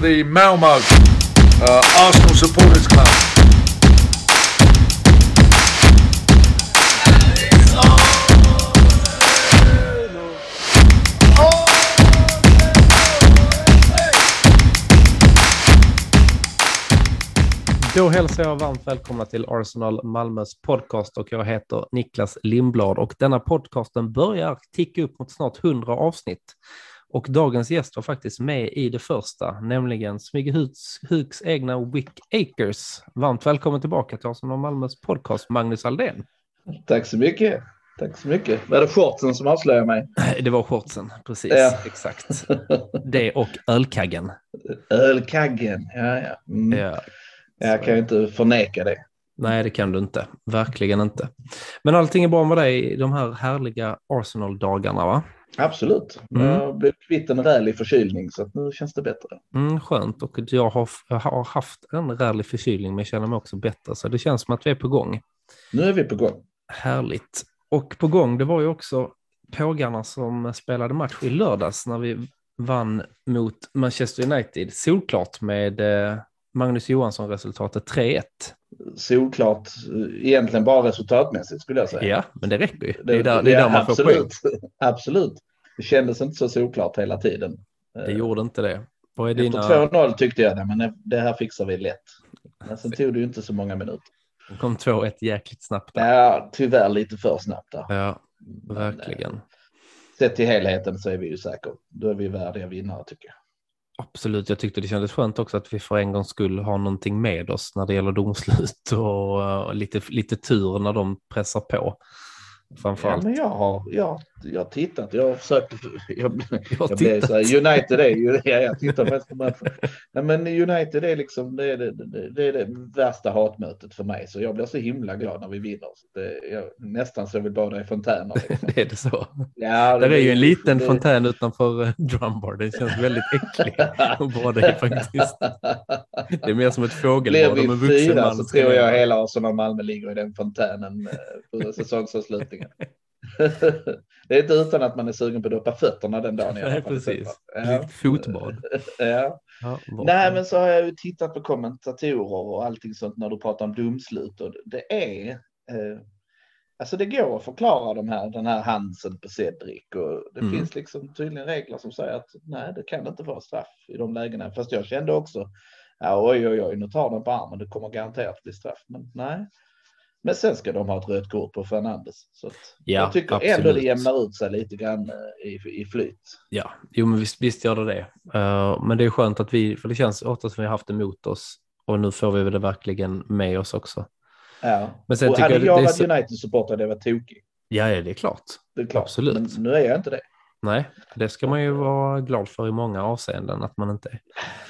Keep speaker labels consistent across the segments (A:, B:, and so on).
A: the Malmo uh, Arsenal Supporters Club.
B: Då hälsar jag varmt välkomna till Arsenal Malmös podcast och jag heter Niklas Lindblad och denna podcasten börjar ticka upp mot snart 100 avsnitt. Och dagens gäst var faktiskt med i det första, nämligen Smygehuks Huks egna Wick Akers. Varmt välkommen tillbaka till Arsenal Malmös podcast, Magnus Aldén.
C: Tack så mycket. Tack så mycket. Var det shortsen som avslöjade mig?
B: Eh, Det var shortsen, precis.
C: Ja.
B: Exakt. Det och ölkaggen.
C: Ölkaggen. Ja, ja. Mm.
B: Ja.
C: Jag kan ju inte förneka det.
B: Nej, det kan du inte. Verkligen inte. Men allting är bra med dig i de här härliga Arsenal-dagarna, va?
C: Absolut.
B: Mm.
C: Jag blev kvitt en rälig förkylning så att nu känns det bättre.
B: Mm, skönt. Och jag har, jag har haft en rally förkylning, men jag känner mig också bättre. Så det känns som att vi är på gång.
C: Nu är vi på gång.
B: Härligt. Och på gång, det var ju också pågarna som spelade match i lördags när vi vann mot Manchester United. Solklart med eh, Magnus Johansson-resultatet 3-1.
C: Solklart, eh, egentligen bara resultatmässigt skulle jag säga.
B: Ja, men det räcker ju. Det är där, det är där man får poäng.
C: absolut. Absolut. Det kändes inte så solklart hela tiden. Eh,
B: Det gjorde inte det. Vad är
C: Efter
B: dina...
C: 2-0 tyckte jag, nej, men det- det här fixar vi lätt. Men sen tog det ju inte så många minuter.
B: kom 2-1 jäkligt snabbt. Där.
C: Ja, tyvärr lite för snabbt där.
B: Ja,
C: Men, eh,
B: verkligen.
C: sett till helheten så är vi ju säkert, då är vi värdiga vinnare tycker jag.
B: Absolut, jag tyckte det kändes skönt också att vi för en gångs skull har någonting med oss när det gäller domslut och, eh, och lite, lite tur när de pressar på.
C: Ja,
B: Framförallt.
C: men jag har, jag, jag har tittat, jag har försökt, jag,
B: Jag
C: jag blev
B: tittar.
C: så här, United är ju, ja, jag tittar faktiskt på matchen. Nej men United är liksom, det är det, det, det är det värsta hatmötet för mig, så jag blir så himla glad när vi vinner. Så det, jag, nästan så jag vill bada i fontäner. Liksom.
B: Är det så?
C: Ja,
B: Det är ju en liten
C: det-
B: fontän utanför eh, Drumbar. Det känns väldigt äckligt att bada i faktiskt. Det är mer som ett
C: Blir
B: fågelbad om en
C: vi
B: vuxen
C: fyra
B: man.
C: så
B: ska
C: tror jag
B: göra.
C: hela Arsenal Malmö ligger i den fontänen eh, på säsongsavslutningen. det är inte utan att man är sugen på att doppa fötterna den dagen. i alla
B: Nej,
C: fall.
B: precis.
C: Ja.
B: Likt fotbad.
C: Ja.
B: Ja, bra.
C: Nej, men så har jag ju tittat på kommentatorer och allting sånt när du pratar om domslut och det är. Eh, alltså det går att förklara de här, den här Hansen på Cedric och det
B: Mm.
C: finns liksom tydligen regler som säger att nej, det kan inte vara straff i de lägena. Fast jag kände också. Ja, oj, oj, oj, nu tar de på armen. Det kommer garanterat bli straff, men nej. Men sen ska de ha ett rött kort på Fernandes. Så att
B: Ja,
C: jag tycker ändå
B: absolut.
C: det jämnar ut sig lite grann eh, i, i flyt.
B: Ja, jo men visst, visst gör det det. Eh, men det är skönt att vi, för det känns ofta som vi har haft det mot oss och nu får vi väl det verkligen med oss också.
C: Ja.
B: Men sen
C: och
B: tycker
C: hade
B: jag det-
C: jag
B: det är
C: varit
B: så-
C: United-supporter hade jag varit tokig.
B: Ja, ja, det är klart.
C: Det är klart. Mm.
B: Absolut.
C: Men nu är jag inte det.
B: Nej, det ska man ju vara glad för i många avseenden att man inte är.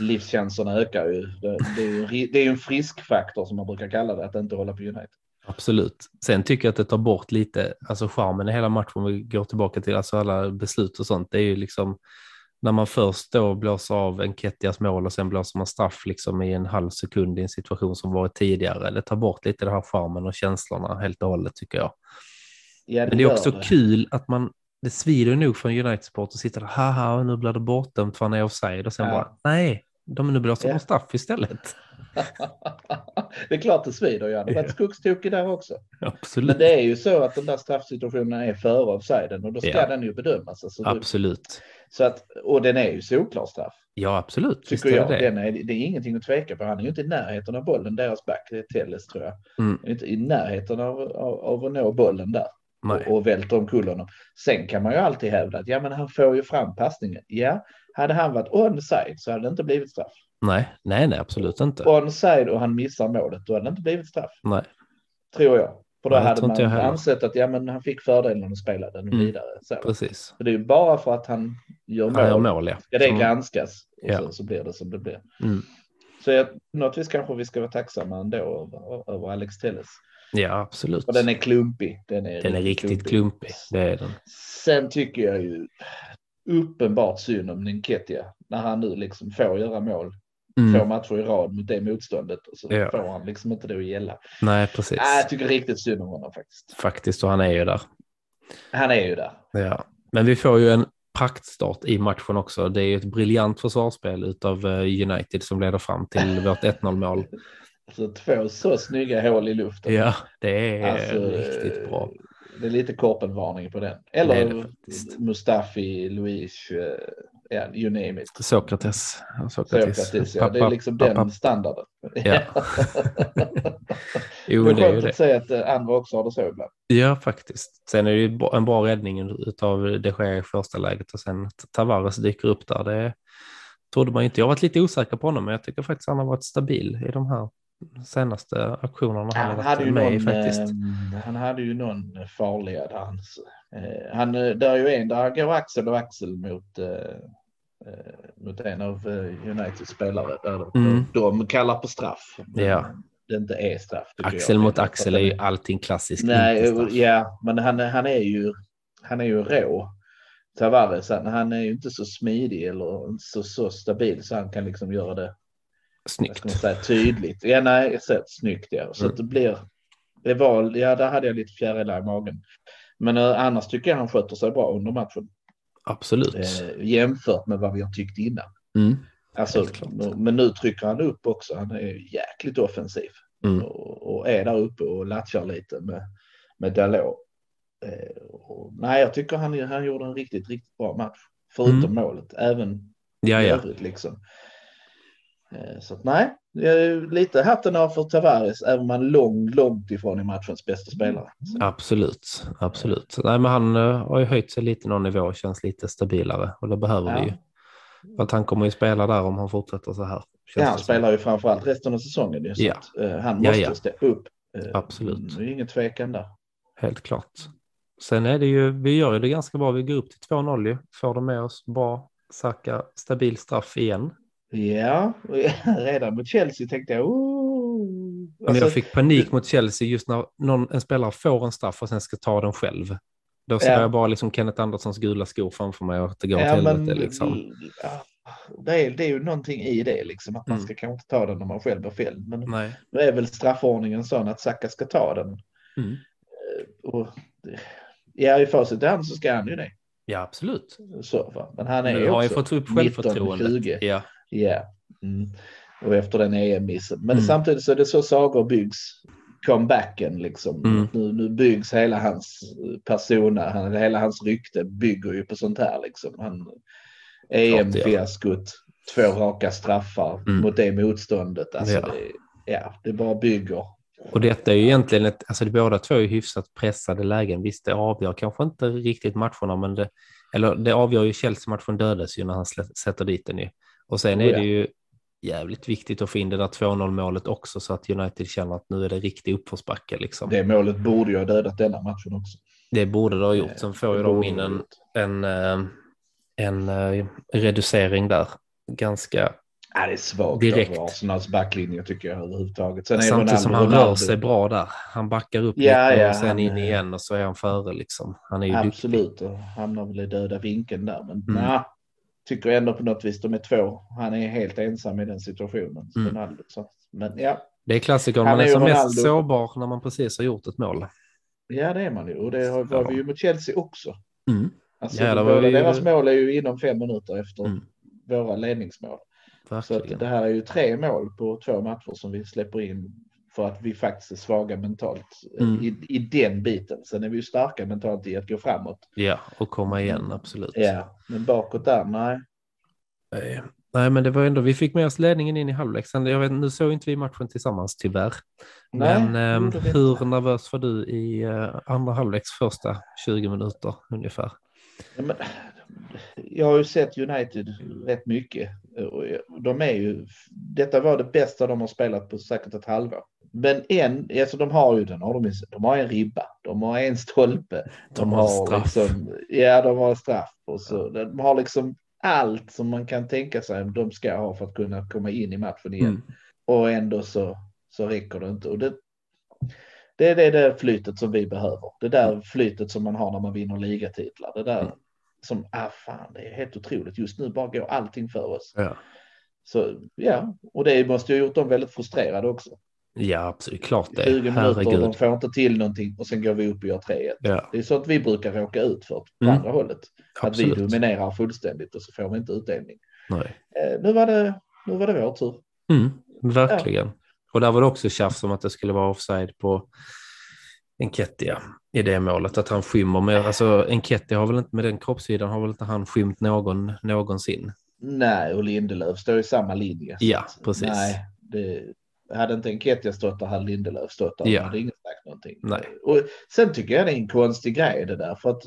C: Livschanserna ökar ju. Det, det är ju en ri- det är ju en friskfaktor som man brukar kalla det, att inte hålla på United.
B: Absolut. Sen tycker jag att det tar bort lite, alltså charmen i hela matchen, om vi går tillbaka till alltså alla beslut och sånt, det är ju liksom när man först då blåser av en Kettias mål och sen blåser man straff liksom i en halv sekund i en situation som varit tidigare. Det tar bort lite den här charmen och känslorna helt och hållet tycker jag.
C: Ja,
B: Men det är
C: gör
B: också kul att man, det svider ju nog för en United-support att sitta där, haha, nu blir det bortdömt för han är offside och sen
C: Ja.
B: bara, nej, de nu blåser
C: Ja.
B: de straff istället.
C: det är klart det svider. Jag hade
B: Ja.
C: varit skogstokig där också.
B: Absolut,
C: Men det är ju så att den där straffsituationen är före offsiden och då ska
B: Ja.
C: den ju bedömas. Alltså, du,
B: absolut.
C: så att, och den är ju solklar straff,
B: Ja, absolut. Visst
C: tycker
B: är
C: jag.
B: det.
C: Den är, det är ingenting att tveka på. Han är ju inte i närheten av bollen, deras back, det är Telles tror jag.
B: Mm.
C: Han är inte i närheten av, av, av att nå bollen där.
B: Nej.
C: och, och välter omkull honom. Sen kan man ju alltid hävda att ja, men han får ju fram passningen. Ja, hade han varit onside så hade det inte blivit straff.
B: Nej, nej, nej, absolut inte.
C: Onside och han missar målet, då hade det inte blivit straff,
B: Nej,
C: tror jag. För då
B: Ja, det
C: hade
B: tror
C: man
B: inte jag heller.
C: ansett att ja, men han fick fördelen att spela den
B: Mm.
C: vidare. Så.
B: precis.
C: För det är ju bara för att han gör mål.
B: Han gör mål, ja.
C: Ska det
B: Som-
C: granskas och
B: Ja.
C: sen så blir det som det blir.
B: Mm.
C: Så jag, något vis kanske vi ska vara tacksamma ändå över, över Alex Telles.
B: Ja, absolut.
C: Och den är klumpig. Den är,
B: Den är riktigt klumpig. Det är den.
C: Sen tycker jag ju uppenbart synd om Ninketia när han nu liksom får göra mål två
B: Mm.
C: matcher i rad mot det motståndet och så
B: Ja.
C: får han liksom inte det att gälla.
B: Nej, precis.
C: Ah, jag tycker riktigt synd om honom faktiskt.
B: Faktiskt, och han är ju där.
C: Han är ju där.
B: Ja. Men vi får ju en praktstart i matchen också. Det är ju ett briljant försvarsspel av United som leder fram till vårt 1-0 mål.
C: Alltså två så snygga hål i luften.
B: Ja, det är
C: Alltså,
B: riktigt bra.
C: Det är lite korpenvarning på den.
B: Det är
C: Eller
B: det faktiskt.
C: Mustafi, Luis, eh, ja, you name it.
B: Sokrates.
C: Sokratis, ja. Det är liksom
B: Papp,
C: den
B: papp.
C: standarden.
B: Ja. Jo,
C: det
B: men det är
C: är
B: ju
C: skönt
B: det.
C: att säga att eh, andra också har det så ibland.
B: Ja, faktiskt. Sen är det ju bra- en bra räddning av det sker i första läget och sen att Tavares dyker upp där. Det trodde man ju inte. Jag har varit lite osäker på honom, men jag tycker faktiskt han har varit stabil i de här senaste aktionerna han,
C: Han
B: har
C: hade,
B: varit
C: ju
B: med
C: någon,
B: i faktiskt.
C: eh, han hade ju någon farliga dans. Eh, Han, eh, där är ju en, där går axel och axel mot, eh, eh, mot en av eh, Uniteds spelare. Där de,
B: Mm.
C: de kallar på straff. men
B: Ja.
C: Det inte är straff. tycker
B: Axel
C: jag.
B: mot
C: För att
B: axel är
C: den
B: ju allting klassiskt. inte
C: Nej,
B: straff.
C: ja, men han, han är ju, han är ju rå. Tavares, han, han är ju inte så smidig eller inte så, så stabil så han kan liksom göra det vad ska man
B: Snyggt.
C: säga, tydligt. Ja, nej, jag sett snyggt ja. Så
B: Mm.
C: att det blir, det var, ja, där hade jag lite fjärilar i magen. Men eh, annars tycker jag han sköter sig bra under matchen
B: Absolut.
C: eh, jämfört med vad vi har tyckt innan.
B: Mm.
C: Alltså,
B: Helt klart.
C: men nu trycker han upp också. Han är ju jäkligt offensiv
B: Mm.
C: och, och är där uppe och latchar lite med, med Dalot. Eh, och, nej, jag tycker han, han gjorde en riktigt, riktigt bra match. Förutom
B: Mm.
C: målet, även
B: Ja,
C: i
B: ja.
C: övrigt liksom. Eh, så att, nej, det är lite hatten av för Tavares, även om han lång, långt ifrån är matchens bästa spelare. Så,
B: Mm. Absolut, absolut. Nej, men han eh, har ju höjt sig lite någon nivå och känns lite stabilare och det behöver vi ju.
C: ja.
B: För att han kommer ju spela där om han fortsätter så här. Känns
C: Ja,
B: det
C: han
B: som.
C: spelar ju framförallt resten av säsongen. Ju, så
B: Ja.
C: att, eh, han
B: Ja,
C: måste
B: ja.
C: steppa upp. Eh,
B: Absolut.
C: Det är ingen tvekan där.
B: Helt klart. Sen är det ju, vi gör ju det ganska bra. Vi går upp till 2-0 ju. Får de med oss bra, Saka, stabil straff igen.
C: Ja, redan mot Chelsea tänkte jag... Oh.
B: Men
C: Alltså,
B: jag fick panik mot Chelsea just när någon, en spelare får en straff och sen ska ta den själv. Då ser
C: Ja.
B: jag bara liksom Kenneth Anderssons gula skor framför mig och att det går åt
C: Ja,
B: helvete.
C: men
B: liksom.
C: ja, det, är, det är ju någonting i det liksom att man
B: Mm.
C: ska kanske inte ta den när man själv är fälld. Men
B: Nej.
C: nu är väl straffordningen sån att Saka ska ta den.
B: Mm.
C: Och, ja, i facit i hand så ska han ju det.
B: Ja, absolut.
C: Så, va? Men han är
B: Nu
C: ju
B: har jag
C: också
B: fått upp
C: 19-20.
B: självförtroendet. Ja.
C: Ja. Mm. Och efter den EM-missen. Men
B: Mm.
C: samtidigt så är det så sagor byggs. Comebacken liksom.
B: Mm.
C: Nu, nu byggs hela hans persona, han, hela hans rykte bygger ju på sånt här liksom. Han, EM-fiaskot, två raka straffar
B: Mm.
C: mot det motståndet. Alltså,
B: Ja.
C: Det, ja, det bara bygger.
B: Och detta är ju egentligen ett, alltså det båda två är ju hyfsat pressade lägen. Visst, det avgör kanske inte riktigt matcherna, men det, eller det avgör ju Chelsea-matchen dödes ju när han slä- sätter dit den ju. Och sen
C: Oh
B: är
C: ja.
B: det ju jävligt viktigt att få in det där 2-0 målet också så att United känner att nu är det riktig uppförsbacke liksom. Det,
C: Det målet borde ju ha dödat denna matchen också.
B: borde det ha gjort. Sen får ju
C: Det
B: de
C: borde
B: in
C: ha
B: en,
C: gjort.
B: en, eh, en eh, reducering där. Ganska,
C: Ja, det är svagt
B: direkt.
C: direkt. av Arsenals backlinje tycker jag överhuvudtaget. Sen är
B: samtidigt som han
C: Ronaldo-
B: rör sig bra där. Han backar upp
C: Ja,
B: lite
C: ja,
B: och sen
C: han eh,
B: in
C: är-
B: igen och så är han före liksom. Han är ju duktig.
C: Absolut, och hamnar väl i döda vinkeln där. Men
B: Mm.
C: nja, tycker ändå på något vis de är två. Han är helt ensam i den situationen.
B: Mm.
C: Ronaldo, så. Men ja,
B: Det är klassikern,
C: Han
B: man är,
C: är ju
B: som mest
C: Ronaldo.
B: sårbar när man precis har gjort ett mål.
C: ja, det är man ju. Och det har- var vi ju mot Chelsea också. Alltså,
B: Ja, det var
C: båda
B: ju-
C: deras mål är ju inom fem minuter efter
B: Mm.
C: våra ledningsmål. Så att
B: Verkligen.
C: det här är ju tre mål på två matcher som vi släpper in för att vi faktiskt är svaga mentalt eh,
B: Mm.
C: i, i den biten. Sen är vi ju starka mentalt i att gå framåt.
B: Ja, och komma igen, absolut.
C: Mm. Ja, men bakåt där, nej.
B: Eh, Nej, men det var ändå, vi fick med oss ledningen in i halvlek. Sen, jag vet, nu såg inte vi matchen tillsammans, tyvärr.
C: Nej,
B: men ehm,
C: gjorde vi inte.
B: hur nervös var du i eh, andra halvleks första 20 minuter ungefär?
C: Ja, men, jag har ju sett United rätt mycket. Och De är ju, detta var det bästa de har spelat på säkert ett halvår. Men en, alltså de har ju den, har de, ju- de har en ribba, de har en stolpe.
B: De har straff.
C: Liksom, ja, de har straff. Och så, de har liksom allt som man kan tänka sig de ska ha för att kunna komma in i matchen igen.
B: Mm.
C: Och ändå så, så räcker det inte. Och det, det är det där flytet som vi behöver. Det där flytet som man har när man vinner ligatitlar. Det där
B: Mm.
C: som, ah fan, det är helt otroligt. Just nu bara går allting för oss.
B: Ja.
C: Så ja, och det måste ju ha gjort dem väldigt frustrerade också.
B: Ja, absolut. Klart det.
C: 20 minuter och de
B: Herregud.
C: får inte till någonting och sen går vi upp och gör 3-1.
B: Ja,
C: Det är så att vi brukar råka ut för på
B: Mm.
C: andra hållet. Att
B: absolut.
C: vi dominerar fullständigt och så får vi inte utdelning.
B: Nej.
C: Eh, nu, var det, nu var det vår tur.
B: Mm, verkligen. Och där var det också tjafs om att det skulle vara offside på Enketia i det målet. Att han skymmer mer. Alltså Enketia har väl inte, med den kroppshyddan har väl inte han skymt någon någonsin.
C: Nej, och Lindelöf står i samma linje. Så
B: Ja,
C: att,
B: precis.
C: Nej, det, hade inte Enketia stått där hade Lindelöf stått där.
B: Ja.
C: Ja. hade ingen sagt någonting.
B: Nej.
C: Och sen tycker jag det är en konstig grej det där. För att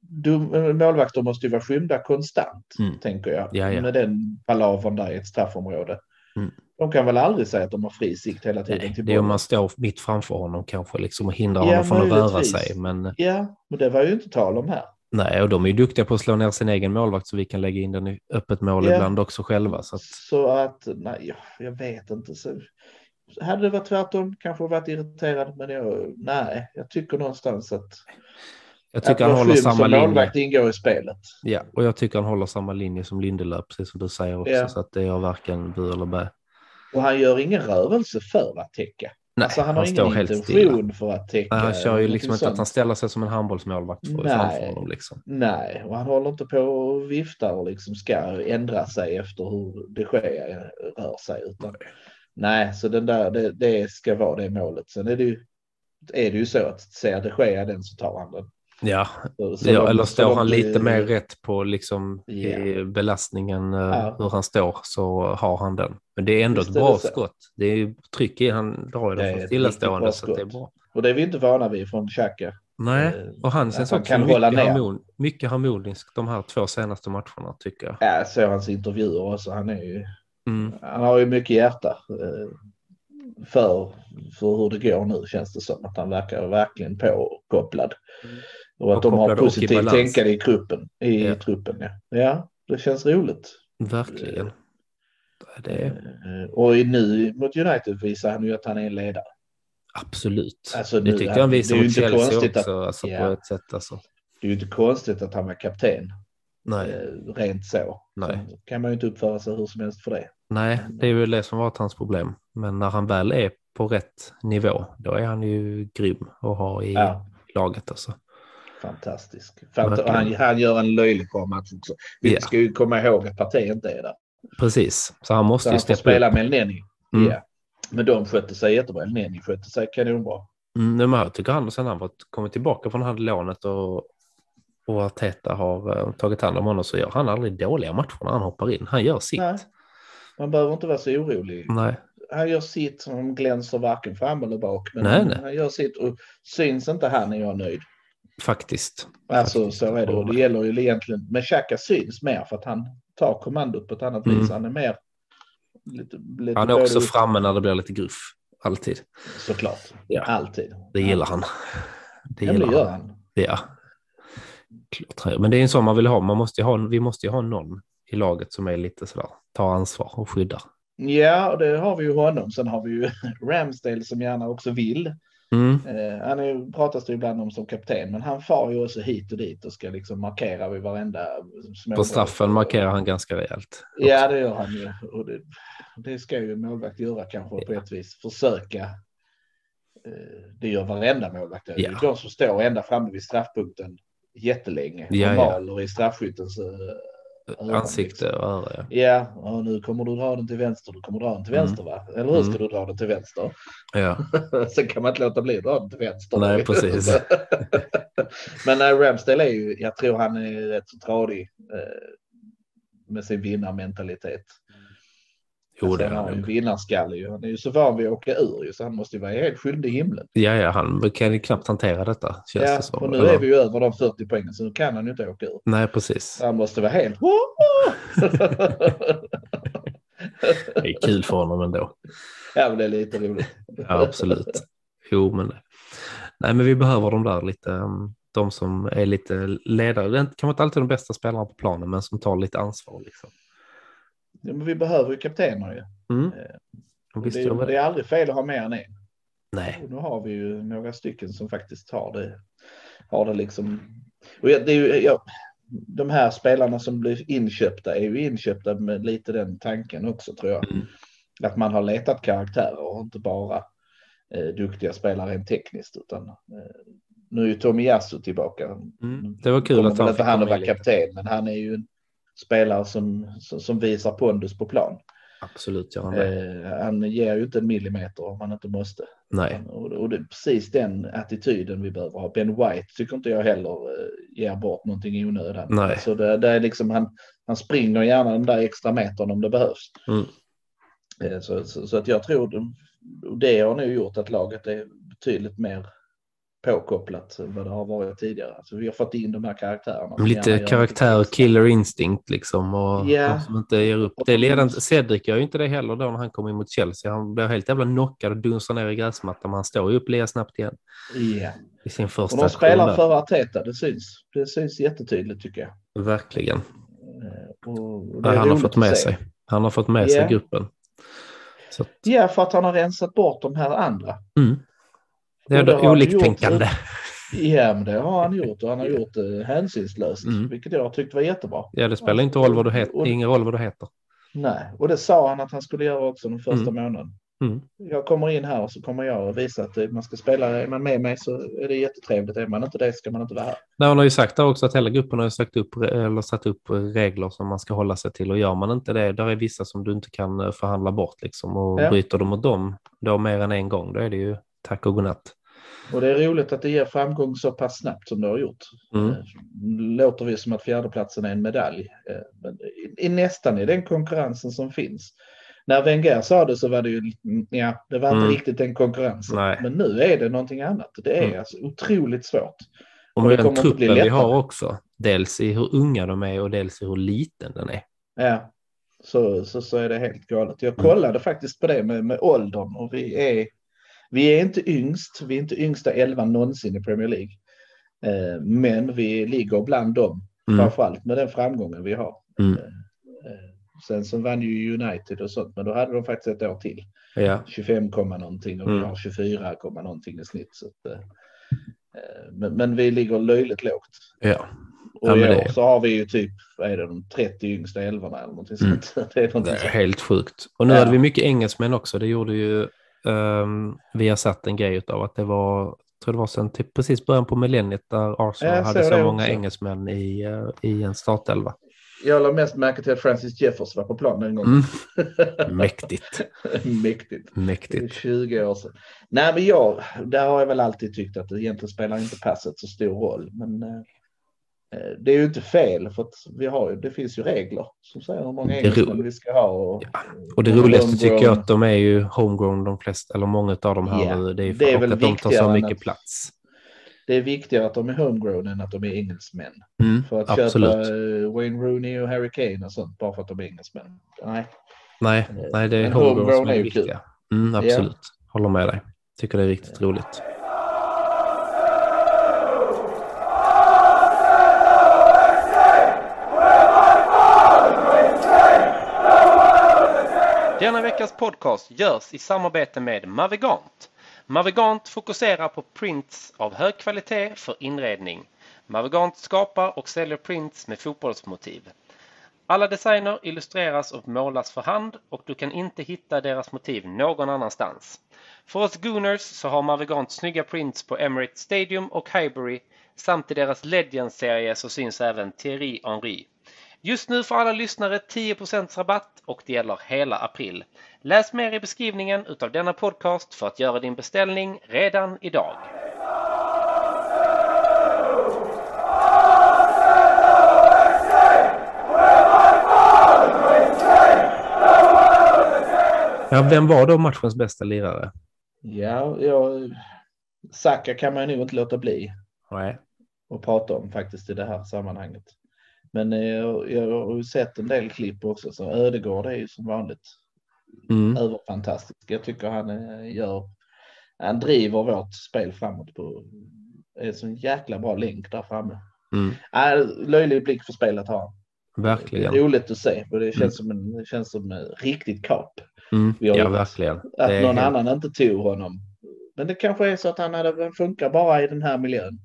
C: du, målvakter måste ju vara skymda konstant,
B: Mm.
C: tänker jag.
B: Ja, ja.
C: Med den palavern där i ett straffområde.
B: Mm.
C: De kan väl aldrig säga att de har fri sikt hela tiden
B: Nej,
C: till
B: det är om
C: bollen.
B: man står mitt framför honom kanske liksom och hindrar
C: Ja,
B: honom från att röra
C: möjligtvis.
B: sig. Men
C: Ja, men det var ju inte tal om här.
B: nej, och de är ju duktiga på att slå ner sin egen målvakt så vi kan lägga in den i öppet mål
C: Ja.
B: ibland också själva. Så att,
C: Så att, nej, jag, jag vet inte. Så, hade det varit tvärtom kanske jag varit irriterad, men jag, nej, jag tycker någonstans att,
B: jag tycker
C: att
B: han
C: vara
B: håller
C: skym
B: samma
C: som
B: linje.
C: målvakt ingår i spelet.
B: Ja, och jag tycker han håller samma linje som Lindelöf, precis som du säger också.
C: Ja.
B: Så att det är jag varken bu eller bä.
C: Och han gör ingen rörelse för att täcka.
B: Nej,
C: Alltså, han, har
B: står
C: ingen
B: helt stilla.
C: intention för att täcka.
B: Nej, han kör ju
C: någonting
B: liksom inte att han
C: sånt.
B: ställer sig som en handbollsmålvakt för,
C: Nej.
B: framför honom. Liksom.
C: Nej, och han håller inte på och viftar och liksom ska ändra sig efter hur det sker, rör sig. Utan, nej, så den där, det, det ska vara det målet. Sen är det ju, är det ju så att ser det ske den så tar han den.
B: Ja,
C: Så- så
B: ja
C: de-
B: eller
C: så
B: står
C: de
B: han
C: blir-
B: lite mer rätt på liksom i
C: Ja.
B: belastningen, eh,
C: Ja.
B: hur han står, så har han den. Men det är ändå
C: Visst
B: ett
C: är det
B: bra
C: så.
B: skott. Det är ju tryck i, han drar ju
C: Det
B: den från
C: är ett riktigt
B: stillastående
C: bra
B: så att det är
C: skott.
B: bra.
C: Och det är vi inte vana vid från Xhaka.
B: Nej,
C: Eh,
B: och han känns
C: han
B: också
C: kan
B: mycket,
C: hålla ner.
B: harmon, mycket harmonisk de här två senaste matcherna tycker jag.
C: Ja, jag såg hans intervjuer också. Han, är ju,
B: Mm.
C: han har ju mycket hjärta eh, för, för hur det går nu känns det som. Att han verkar verkligen påkopplad.
B: Mm.
C: Och att
B: Och
C: de har
B: kopplad och i
C: positivt
B: balans.
C: tänkande i gruppen. I
B: Ja.
C: truppen ja. ja, det känns roligt.
B: Verkligen. Det är
C: Eh, Och i nu mot United visar han ju att han är en ledare.
B: absolut.
C: Alltså,
B: det
C: nu-
B: tyckte jag han
C: det är
B: visade
C: ju
B: mot
C: inte
B: Chelsea
C: konstigt att-
B: också alltså, på
C: Ja.
B: ett sätt. Alltså.
C: Det är ju inte konstigt att han var kapten
B: Nej,
C: eh, rent så.
B: Nej.
C: Sen kan man ju inte uppföra sig hur som helst för det.
B: nej, det är väl det som varit hans problem. Men när han väl är på rätt nivå, då är han ju grym att ha i
C: Ja.
B: laget. Alltså.
C: Fantastisk. Fant-
B: Verkligen.
C: och han, han gör en löjlig bra match också. Vi
B: Ja.
C: ska ju komma ihåg att partiet inte är där.
B: Precis, så han måste
C: Så
B: ju
C: han får
B: steppa upp.
C: spela med Elneny.
B: Mm.
C: Ja. Men de skötte sig jättebra. Elneny skötte sig kanonbra.
B: Mm, men jag tycker han, sen han varit, kommit tillbaka från det här lånet och, och Arteta har eh, tagit hand om honom så gör han aldrig dåliga matcher när han hoppar in. Han gör sitt.
C: Nej.
B: Nej.
C: Man behöver inte vara så orolig.
B: Nej.
C: Han gör sitt som glänser varken fram eller bak. Men
B: Nej, nej.
C: han gör sitt och syns inte han är jag nöjd.
B: Faktiskt.
C: Alltså
B: Faktiskt.
C: så är det. Och det gäller ju egentligen. Men Xhaka syns mer för att han tar kommandot på ett annat
B: Mm.
C: vis. Han är mer. Lite, lite
B: Han är också
C: både-
B: framme när det blir lite gruff. Alltid.
C: Såklart.
B: Ja.
C: Alltid.
B: Det gillar han. Det
C: Ja, men
B: gillar
C: det gör
B: han.
C: han.
B: Ja. Klart. Men det är en sån man vill ha. Man måste ju ha. Vi måste ju ha någon i laget som är lite sådär, tar ansvar och skyddar.
C: Ja, och det har vi ju honom. Sen har vi ju Ramsdale som gärna också vill.
B: Mm.
C: Eh, han är, ju- pratas det ju ibland om som kapten, men han far ju också hit och dit och ska liksom markera vid varenda små...
B: På straffen markerar han ganska rejält.
C: Ja, det gör han ju. Och det, det ska ju en målvakt göra kanske på ett vis. Försöka. Eh, det gör varenda målvakt. Det är ju
B: Ja.
C: De som står ända framme vid straffpunkten jättelänge och
B: Ja, ja.
C: maler i straffskyttens eh,
B: Också. Ansikte och öra. ja.
C: Ja, och nu kommer du dra den till vänster, du kommer dra den till
B: Mm.
C: vänster va? Eller hur ska
B: Mm.
C: du dra den till vänster?
B: Ja.
C: Sen kan man inte låta bli att dra den till vänster.
B: Nej, precis.
C: Men nej, Ramsdale är ju, jag tror han är rätt så tradig eh, med sin vinnarmentalitet. Alltså,
B: Jo, det är
C: han har
B: han
C: ju en
B: nog.
C: vinnarskalle ju. Han är ju så van vid att åka ur ju, så han måste ju vara helt skyldig himlen.
B: Ja, ja, han kan ju knappt hantera detta. Känns
C: Ja,
B: det som.
C: och nu
B: Eller-
C: är vi ju över de 40 poängen, så nu kan han ju inte åka ur.
B: Nej, precis.
C: Så han måste vara helt...
B: Det är kul för honom ändå.
C: ja, men det är lite roligt.
B: Ja, absolut. Jo, men nej, men vi behöver de där lite, um, de som är lite ledare. Det är inte- kanske inte alltid de bästa spelarna på planen, men som tar lite ansvar. Liksom.
C: Ja, men vi behöver ju kaptener ju.
B: Mm. Och
C: Eh, Det
B: Visst
C: är,
B: gör
C: ju-
B: vi
C: det
B: det.
C: är aldrig fel att ha mer än en.
B: Nej,
C: Och nu har vi ju några stycken som faktiskt har det. Har det liksom. Och jag- det är ju, jag, de här spelarna som blir inköpta är ju inköpta med lite den tanken också tror jag.
B: Mm.
C: Att man har letat karaktärer och inte bara eh, duktiga spelare rent tekniskt. Utan, eh, nu är ju Tomiyasu tillbaka.
B: Mm. Det var kul att
C: han
B: han
C: inte han att
B: med
C: vara
B: lite.
C: kapten, men han är ju en spelare som, som, som visar pondus på plan.
B: Absolut gör han det.
C: Eh, han ger ju inte en millimeter om han inte måste.
B: Nej.
C: Liksom. Och, och det är precis den attityden vi behöver ha. Ben White tycker inte jag heller eh, ger bort någonting i onödan.
B: Nej.
C: Så det, det är liksom han, han springer gärna den där extra metern om det behövs.
B: Mm.
C: Eh, Så, så, så att jag tror de- och det har nu gjort att laget är betydligt mer påkopplat än vad det har varit tidigare. Alltså vi har fått in de här karaktärerna. som gärna
B: Lite
C: gör
B: karaktär,
C: någonting.
B: killer instinct liksom. Och
C: Ja.
B: de som inte ger upp. Det leder inte, Cedric gör ju inte det heller då när han kommer in mot Chelsea. Han blir helt jävla knockad och dunsar ner i gräsmattan. Men han står ju upp lika snabbt igen
C: Ja.
B: i sin
C: Och
B: första
C: de
B: aktion.
C: spelar
B: där.
C: för Arteta, det syns. Det syns jättetydligt tycker jag.
B: Verkligen.
C: Eh, Och och det
B: Ja,
C: är
B: han har
C: roligt
B: fått
C: att
B: med
C: se.
B: sig. Han har fått med
C: Ja.
B: sig gruppen. Mm. Så, att-
C: Ja, för att han har rensat bort de här andra.
B: mm. Det
C: Och
B: är
C: det har
B: då
C: han
B: oliktänkande.
C: Ja, men det har han gjort och han har gjort det hänsynslöst,
B: Mm.
C: vilket jag tyckte var jättebra.
B: Ja, det spelar inte roll vad du
C: Och-
B: heter. ingen roll vad du heter.
C: Nej, och det sa han att han skulle göra också den första månaden.
B: Mm.
C: Jag kommer in här och så kommer jag och visa att man ska spela. Är man med mig så är det jättetrevligt. Är man inte det ska man inte vara här.
B: Nej, hon har ju sagt där också att hela gruppen har ju sagt upp, eller satt upp regler som man ska hålla sig till och gör man inte det, där är vissa som du inte kan eh, förhandla bort liksom och
C: Ja.
B: bryter du mot dem då mer än en gång, då är det ju tack och godnatt.
C: Och det är roligt att det ger framgång så pass snabbt som det har gjort.
B: Mm.
C: Eh, Låter vi som att fjärdeplatsen är en medalj. eh, Men i, i nästan i den konkurrensen som finns. När Wenger sa det så var det ju, mm, ja, det var inte
B: Mm.
C: riktigt den konkurrensen.
B: Nej.
C: Men nu är det någonting annat. Det är
B: Mm.
C: alltså otroligt svårt.
B: Och
C: Och det
B: med den
C: kommer inte bli
B: truppen vi har
C: lättare.
B: också, dels i hur unga de är och dels i hur liten den är.
C: Ja, så, så, så är det helt galet.
B: Mm.
C: Jag kollade faktiskt på det med, med åldern och vi är, vi är inte yngst. Vi är inte yngsta elvan någonsin i Premier League. Eh, men vi ligger bland dem,
B: Mm.
C: framförallt med den framgången vi har.
B: Mm.
C: Eh, sen så vann ju United och sånt, men då hade de faktiskt ett år till.
B: Ja.
C: 25, komma någonting och vi
B: Mm.
C: har 24, komma någonting i snitt. Så att, eh, eh, men, men vi ligger löjligt lågt.
B: Ja.
C: Och
B: Ja,
C: i
B: men
C: år
B: det-
C: så har vi ju typ, vad är det, de 30 yngsta elvorna eller någonting
B: Mm.
C: sånt. Det är
B: Det
C: någonting
B: är
C: sånt.
B: helt sjukt. Och nu
C: Ja.
B: hade vi mycket engelsmän också. Det gjorde ju... Um, vi har satt en grej utav att det var... Jag tror det var sen typ precis början på millenniet där Arsenal
C: Ja, jag
B: hade
C: såg
B: så
C: det
B: många
C: också.
B: engelsmän i, eh, i en startelva.
C: Jag la mest märke till att Francis Jeffers var på plan den gången.
B: Mäktigt. Mm.
C: Mäktigt. Det är
B: Mäktigt.
C: 20 år sedan. Nej, men jag, där har jag väl alltid tyckt att det egentligen spelar inte passet så stor roll. Men eh, det är ju inte fel för att vi har, ju- det finns ju regler som säger hur många
B: Det är
C: engelsmän
B: roligt.
C: vi ska ha. Och,
B: Och det
C: och
B: roligaste
C: homegrown.
B: tycker jag att de är ju homegrown, de flesta, eller många av de här
C: Ja,
B: nu. Det är, ju
C: det är
B: och
C: väl
B: att de tar
C: viktigare
B: så
C: än
B: mycket
C: att-
B: plats.
C: Det är viktigare att de är homegrown än att de är engelsmän.
B: Mm,
C: För att
B: absolut.
C: köpa eh, Wayne Rooney och Harry Kane och sånt bara för att de är engelsmän. Nej,
B: Nej, nej, det är
C: Men
B: homegrown som
C: homegrown
B: är
C: är
B: det
C: ju kul.
B: viktiga. Mm, absolut. Håller med dig. Tycker det är riktigt roligt. Denna veckas podcast görs i samarbete med Mavigant. Mavigant fokuserar på prints av hög kvalitet för inredning. Mavigant skapar och säljer prints med fotbollsmotiv. Alla designer illustreras och målas för hand och du kan inte hitta deras motiv någon annanstans. För oss Gooners så har Mavigant snygga prints på Emirates Stadium och Highbury samt i deras Legends-serie så syns även Thierry Henry. Just nu får alla lyssnare 10% rabatt och det gäller hela april. Läs mer i beskrivningen utav denna podcast för att göra din beställning redan idag. Ja, vem var då matchens bästa lirare?
C: ja, jag, Saka kan man ju nog inte låta bli.
B: Nej.
C: att prata om faktiskt i det här sammanhanget. Men eh, jag, jag har ju sett en del klipp också, så Ödegård är ju som vanligt
B: Mm.
C: överfantastisk. Jag tycker han eh, gör, han driver vårt spel framåt på, är en sån jäkla bra länk där framme.
B: Mm.
C: Äh, löjlig blick för spelet har han. Det är
B: Verkligen.
C: roligt att se och det känns som en, det känns som en riktigt kap.
B: Mm.
C: Vi har
B: Ja,
C: gjort.
B: verkligen.
C: Att
B: Det är
C: någon
B: helt-
C: annan inte tog honom. Men det kanske är så att han hade, han funkar bara i den här miljön.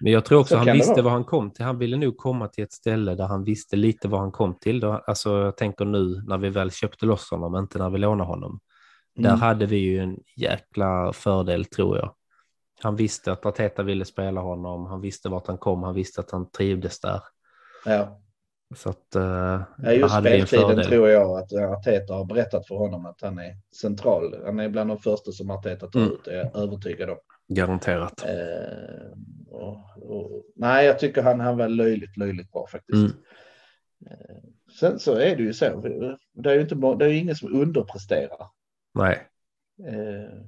B: Men jag tror också
C: Så kan
B: han
C: det
B: visste
C: vara.
B: vad han kom till. Han ville nog komma till ett ställe där han visste lite vad han kom till. Då- Alltså, jag tänker nu när vi väl köpte loss honom, inte när vi lånade honom. Där
C: Mm.
B: hade vi ju en jäkla fördel, tror jag. Han visste att Arteta ville spela honom, han visste vart han kom, han visste att han trivdes där.
C: Ja.
B: Så att, eh,
C: Ja,
B: där
C: just
B: hade vi en
C: speltiden
B: fördel.
C: tror jag att Arteta har berättat för honom att han är central. Han är bland de första som Arteta tar
B: Mm.
C: ut, det är jag övertygad om.
B: Garanterat.
C: Eh, och, och, nej, jag tycker han, han var löjligt, löjligt bra faktiskt.
B: Mm.
C: Sen så är det ju så. Det är ju, inte, må- det är ju ingen som underpresterar.
B: Nej.
C: Eh,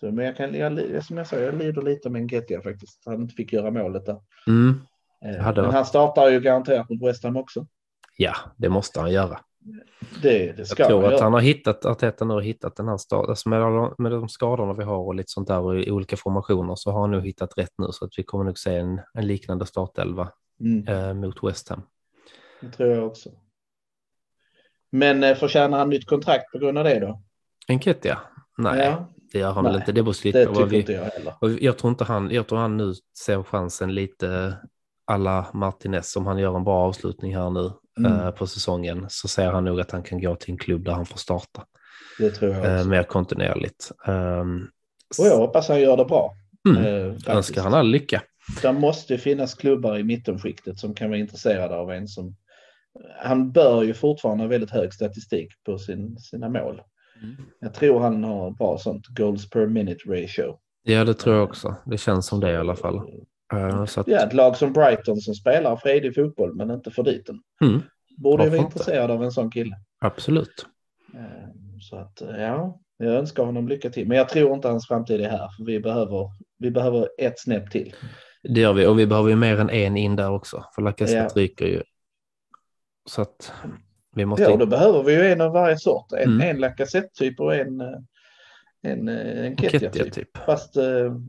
C: så, men jag kan, jag, li- som jag sa, jag lider lite med Engetia faktiskt. Han inte fick göra målet där.
B: Mm.
C: Eh,
B: hade
C: men
B: varit-
C: han startar ju garanterat mot West Ham också.
B: Ja, det måste han göra.
C: Det, det ska
B: Jag tror
C: han
B: att
C: göra.
B: han har hittat, Arteta nu har hittat den här stad, alltså med, alla- med de skadorna vi har och lite sånt där och i olika formationer så har han nog hittat rätt nu så att vi kommer nog se en, en liknande startelva
C: Mm,
B: eh, mot West Ham.
C: det tror jag också. Men eh, förtjänar han nytt kontrakt på grund av det då?
B: Enketia? Nej,
C: ja,
B: det gör han
C: Nej,
B: väl inte. Det beror lite
C: det
B: på vad
C: tycker
B: vi...
C: inte jag heller.
B: Och jag tror inte han, jag tror han nu ser chansen lite alla Martinez, om han gör en bra avslutning här nu
C: Mm.
B: eh, på säsongen, så ser han nog att han kan gå till en klubb där han får starta
C: Det tror jag också.
B: eh, mer kontinuerligt. Ehm,
C: Och jag hoppas han gör det bra.
B: Mm.
C: eh, faktiskt.
B: önskar han all lycka.
C: Det måste ju finnas klubbar i mittenskiktet som kan vara intresserade av en som... Han bör ju fortfarande ha väldigt hög statistik på sin, sina mål.
B: Mm.
C: Jag tror han har bra sånt goals per minute ratio.
B: Ja, det tror jag också. Det känns som det i alla fall. Eh, så att,
C: Ja, ett lag som Brighton som spelar fredig fotboll men inte för liten.
B: mm,
C: Borde ju
B: Varför
C: vara
B: inte?
C: intresserad av en sån kille.
B: absolut.
C: Eh, Så att ja, jag önskar honom lycka till. Men jag tror inte hans framtid är här. För vi behöver, vi behöver ett snäpp till.
B: Det gör vi, och vi behöver ju mer än en in där också, för Lacazette ryker ju. Så att vi måste...
C: Ja, och då behöver vi ju en av varje sort. En,
B: Mm.
C: en Lacazette-typ och en, eh, en, eh, en
B: Enketia,
C: Ketia-typ.
B: typ.
C: Fast eh,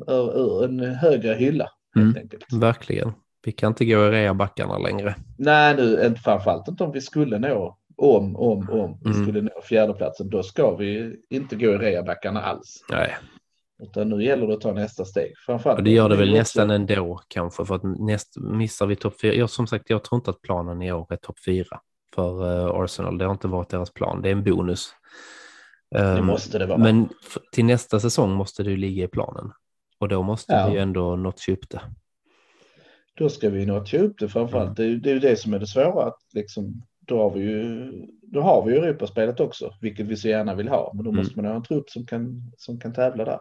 C: ur, ur en högre hylla helt
B: Mm.
C: enkelt.
B: Verkligen. Vi kan inte gå i reabackarna längre.
C: Nej, nu, inte, framförallt inte om vi skulle nå om, om, om vi
B: Mm.
C: skulle nå fjärdeplatsen. Då ska vi inte gå i reabackarna alls.
B: Nej,
C: Utan nu gäller det att ta nästa steg. Framförallt
B: och det gör det
C: Vi
B: väl
C: också-
B: nästan ändå kanske, för att näst, missar vi topp fyra. Jag, som sagt, jag tror inte att planen i år är topp fyra för eh, Arsenal. Det har inte varit deras plan. Det är en bonus.
C: Det
B: Ehm,
C: måste det vara.
B: men f- till nästa säsong måste det ju ligga i planen. Och då måste
C: Ja.
B: vi ju ändå notcha upp det.
C: Då ska vi notcha upp det framförallt.
B: Mm.
C: Det, är ju- det är ju det som är det svåra. Att liksom, då, har vi ju, då har vi ju Europaspelet också, vilket vi så gärna vill ha. Men då
B: Mm.
C: måste man ha en trupp som kan, som kan tävla där.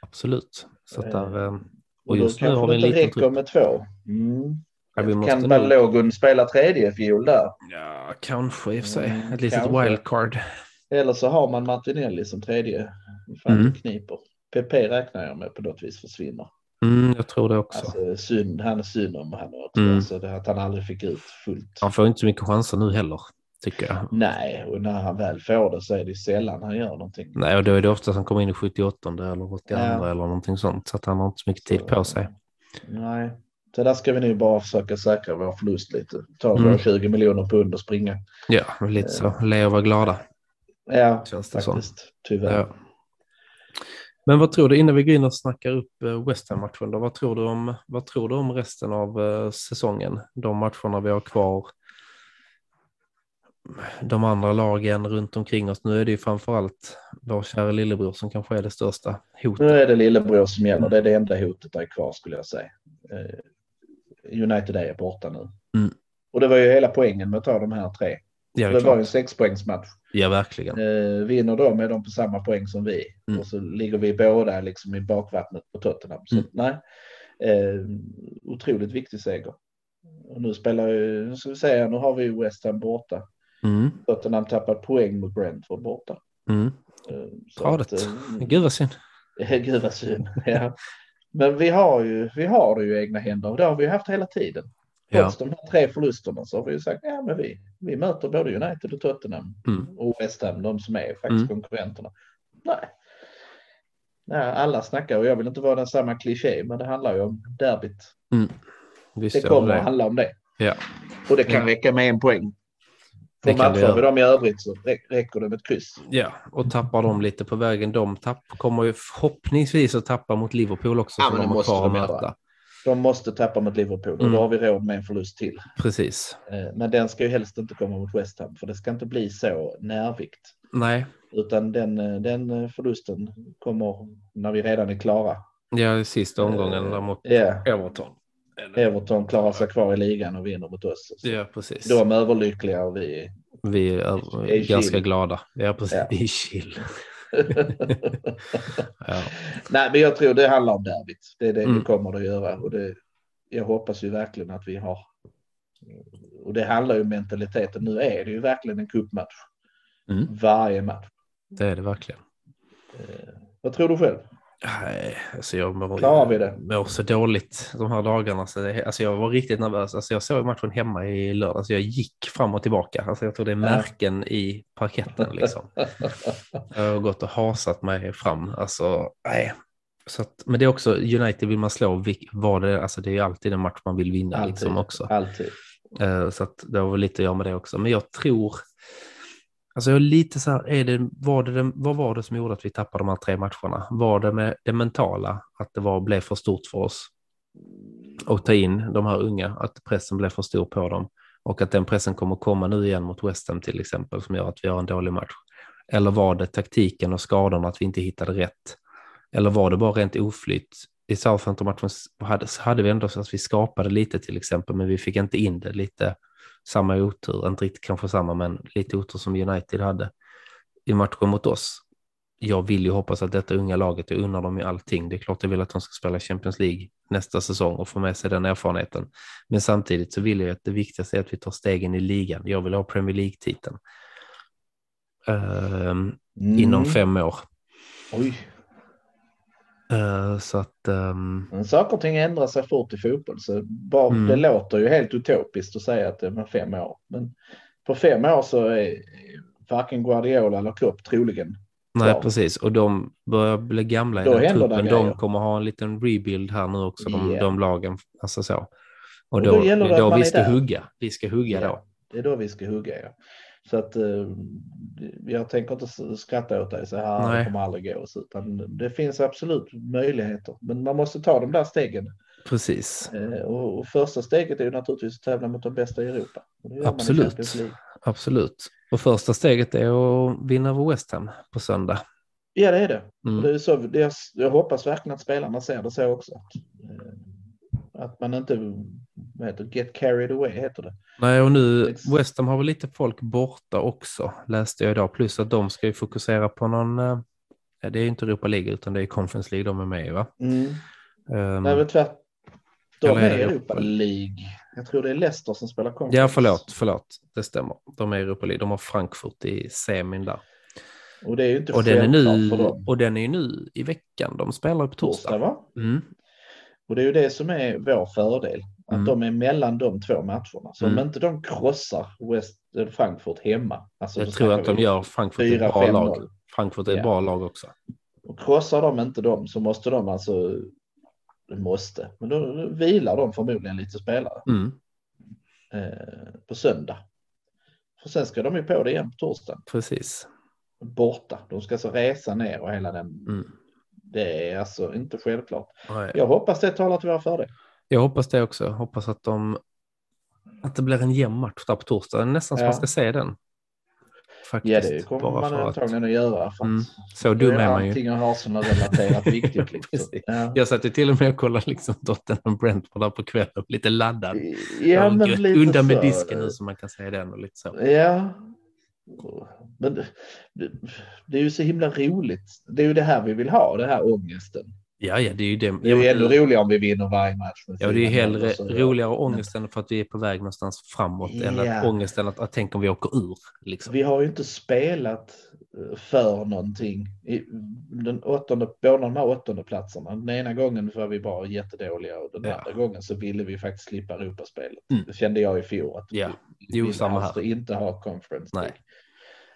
B: Absolut. Så att där, eh,
C: Och,
B: och
C: då
B: just nu
C: kanske
B: har
C: det
B: vi en
C: inte
B: liten
C: räcker
B: trupp.
C: med två. Mm.
B: Ja, vi måste
C: Kan
B: nog-
C: Balogun spela tredje fiol där?
B: Ja, kanske i och för sig.
C: Mm,
B: Ett litet
C: kanske.
B: wildcard.
C: Eller så har man Martinelli som tredje. Fan,
B: Mm.
C: det kniper. PP räknar jag med på något vis försvinner.
B: Mm, jag tror det också.
C: Alltså, synd, han är synd om han åter.
B: Mm.
C: Alltså, det, att han aldrig fick ut fullt.
B: Han får inte så mycket chanser nu heller, tycker jag.
C: Nej, och när han väl får det så är det ju sällan han gör någonting.
B: Nej, och då är det ofta att han kommer in i 78 eller 82
C: Ja.
B: eller någonting sånt, så att han har inte så mycket tid på sig.
C: Nej, så där ska vi nu bara försöka säkra vår förlust lite. Ta
B: Mm.
C: våra 20 miljoner pund och springa.
B: Ja, men lite så. Le och var glada,
C: Ja,
B: känns det som.
C: Eh. faktiskt. Tyvärr.
B: Ja. Men vad tror du, innan vi går in och snackar upp eh, West Ham-matchen, då, vad, tror du om, vad tror du om resten av eh, säsongen? De matcherna vi har kvar, de andra lagen runt omkring oss. Nu är det ju framförallt vår kära lillebror som kanske är det största
C: Nu
B: hotet.
C: är det lillebror som gäller. Det är det enda hotet där kvar skulle jag säga. Eh, United är borta nu.
B: Mm.
C: Och det var ju hela poängen med att ta de här tre.
B: Ja, det
C: det
B: är
C: var ju en
B: klart.
C: sexpoängsmatch.
B: Ja, verkligen.
C: Eh, vinner de är de på samma poäng som vi.
B: Mm.
C: Och så ligger vi båda liksom i bakvattnet på Tottenham. Så
B: Mm.
C: nej, eh, otroligt viktig seger. Och nu spelar ju, nu ska vi säga, nu har vi ju West Ham borta.
B: Mm,
C: Tottenham tappar poäng mot Brentford borta.
B: mm.
C: Eh, så
B: Tradigt.
C: att,
B: Gud vad synd.
C: eh, Gud vad synd. ja. Men vi har, ju, vi har det ju i egna händer och det har vi ju haft hela tiden.
B: Ja.
C: Trots de här tre förlusterna så har vi ju sagt ja, men vi, vi möter både United och Tottenham
B: Mm.
C: och West Ham, de som är faktiskt
B: Mm.
C: konkurrenterna. Nej. Nej, alla snackar och jag vill inte vara den samma kliché, men det handlar ju om derbyt.
B: Visst
C: Det
B: gör
C: kommer
B: det.
C: att handla om det.
B: Ja.
C: Och det kan
B: Ja.
C: räcka med en poäng.
B: Det
C: För
B: kan det
C: matchar vi
B: göra.
C: dem i övrigt så rä- räcker det med ett kryss.
B: Ja, och tappar de lite på vägen. De tapp, kommer ju förhoppningsvis att tappa mot Liverpool också.
C: Ja,
B: som
C: men
B: de
C: det
B: har
C: måste
B: kvar att
C: de göra.
B: möta.
C: De måste tappa mot Liverpool och
B: Mm.
C: då har vi råd med en förlust till.
B: Precis.
C: Eh, Men den ska ju helst inte komma mot West Ham för det ska inte bli så närvikt.
B: Nej,
C: Utan den, eh, den eh, förlusten kommer när vi redan är klara.
B: ja, i sista omgången där mot
C: Ja,
B: Everton. Eller-
C: Everton klarar sig kvar i ligan och vinner mot oss.
B: Ja, precis.
C: De är överlyckliga och vi...
B: Vi är eh,
C: Det är
B: ganska
C: chill.
B: glada. Ja, precis.
C: Ja.
B: Det är chill. Ja.
C: Nej, men jag tror det handlar om derbyt. Det är det
B: Mm.
C: vi kommer att göra. Och det, jag hoppas ju verkligen att vi har... Och det handlar ju om mentaliteten. Nu är det ju verkligen en cupmatch.
B: Mm.
C: Varje match.
B: Det är det verkligen.
C: Eh, Vad tror du själv?
B: Nej, alltså jag mår,
C: Klarar vi det?
B: mår så dåligt de här dagarna. Så det, alltså jag var riktigt nervös. Alltså jag såg matchen hemma i lördags. Jag gick fram och tillbaka. Alltså jag tog det är märken i parketten. Liksom. Jag har gått och hasat mig fram. Alltså, nej. Så att, men det är också, United vill man slå vil- vad det är. Alltså det är alltid en match man vill vinna. Liksom också.
C: Alltid.
B: Eh, Så att det har väl lite att göra med det också. Men jag tror... Alltså jag är lite så här, är det, var det, den- vad var det som gjorde att vi tappade de här tre matcherna? Var det med det mentala, att det var, blev för stort för oss att ta in de här unga, att pressen blev för stor på dem och att den pressen kommer komma nu igen mot West Ham till exempel som gör att vi har en dålig match? Eller var det taktiken och skadorna, att vi inte hittade rätt? Eller var det bara rent oflyt? I Southampton-matchen hade, hade vi ändå så att vi skapade lite till exempel, men vi fick inte in det lite. Samma otur, inte riktigt kanske samma, men lite otur som United hade i matchen mot oss. Jag vill ju hoppas att detta unga laget, jag unnar dem ju allting. Det är klart jag vill att de ska spela Champions League nästa säsong och få med sig den erfarenheten. Men samtidigt så vill jag att det viktigaste är att vi tar stegen i ligan. Jag vill ha Premier League-titeln. Ehm,
C: Mm.
B: Inom fem år.
C: Oj.
B: Eh, så att... ehm,
C: Men saker och ting ändrar sig fort i fotboll. Så bara,
B: Mm.
C: Det låter ju helt utopiskt att säga att det är med fem år. Men på fem år så är varken Guardiola eller Klopp troligen.
B: nej,
C: Ja.
B: precis. Och de börjar bli gamla i
C: Då
B: den
C: händer det
B: truppen.
C: grejer.
B: De kommer ha en liten rebuild här nu också, de,
C: Ja.
B: de lagen. Alltså så. Och,
C: Och
B: då,
C: då gäller det
B: då
C: att man
B: vi
C: är
B: ska
C: där.
B: hugga. Vi ska hugga
C: Ja.
B: då.
C: Det är då vi ska hugga. Ja. Så att eh, jag tänker inte skratta åt dig så här.
B: Nej.
C: Det kommer aldrig gå. Så, utan det finns absolut möjligheter. Men man måste ta de där stegen.
B: Precis.
C: Eh, och, och första steget är ju naturligtvis att tävla mot de bästa i Europa. Och det gör man i
B: Absolut.
C: Champions League.
B: Absolut. Och första steget är att vinna över West Ham på söndag.
C: Ja, det är det.
B: Mm.
C: Och det är så, det är, jag hoppas verkligen att spelarna ser det så också. Att, eh, Att man inte vad heter, det, get carried away, heter det.
B: Nej, och nu
C: Ex-
B: West Ham har väl lite folk borta också, läste jag idag. Plus att de ska ju fokusera på någon, eh, ja, det är ju inte Europa League utan det är Conference League de är med i va? Ehm,
C: Nej, men tvärt. De
B: Eller är
C: är
B: det
C: i
B: Europa?
C: Europa League. Jag tror det är Leicester som spelar konferens.
B: Ja, förlåt, förlåt, det stämmer. De är i Europa League, de har Frankfurt i semin där.
C: Och det är ju inte
B: Och den är, nu,
C: självklart för dem.
B: och den är ju nu i veckan, de spelar på
C: Torsdag,
B: torsdag.
C: va?
B: Mm,
C: Och det är ju det som är vår fördel. Att
B: Mm.
C: de är mellan de två matcherna. Så
B: Mm.
C: om inte de krossar West, eh, Frankfurt hemma. Alltså
B: jag
C: då
B: tror att
C: snackar
B: de
C: vi
B: gör, Frankfurt är ett bra
C: 4-5-0.
B: lag. Frankfurt är ett
C: Ja.
B: bra lag också.
C: Och krossar de inte dem så måste de alltså, de måste, men då vilar de förmodligen lite spelare
B: Mm.
C: eh, på söndag. För sen ska de ju på det igen på torsdagen,
B: Precis.
C: borta. De ska alltså resa ner och hela den.
B: Mm.
C: Det är alltså inte självklart.
B: Nej.
C: Jag hoppas det talar till vår fördel.
B: Jag hoppas det också. Jag hoppas att, de, att det blir en jämn match där på torsdag. Det är Nästan som
C: Ja.
B: man ska se den. Faktiskt.
C: Ja, det kommer
B: bara
C: man
B: för att...
C: antagligen att göra. För att
B: Mm, Så dum är man ju.
C: Allting har Arsenal-relaterat viktigt. Liksom.
B: Precis.
C: Ja.
B: Jag satt ju till och med och kollade liksom Tottenham Brentford där på kvällen, och blev lite laddad.
C: Ja,
B: Jag
C: men
B: grät
C: lite
B: undan med
C: så. eh.
B: disken nu som man kan säga den och lite så.
C: Ja. Men det, det är ju så himla roligt. Det är ju det här vi vill ha, det här ångesten.
B: Ja, ja, det är ju det.
C: Det är ju ännu roligare om vi vinner varje match. med
B: Ja, det är ju
C: 4-0
B: hellre
C: och så.
B: roligare ångest än för att vi är på väg någonstans framåt än att
C: Ja.
B: ångest än att, att tänka om vi åker ur. Liksom.
C: Vi har ju inte spelat eh, för någonting. I Den åttonde, båda de här åttonde platserna. Den ena gången var vi bara jättedåliga och den
B: Ja.
C: andra gången så ville vi faktiskt slippa Europaspelet.
B: Mm.
C: Det kände jag i fjol. Att
B: Ja.
C: vi
B: Jo,
C: ville
B: samma här.
C: alltså inte ha Conference
B: Nej.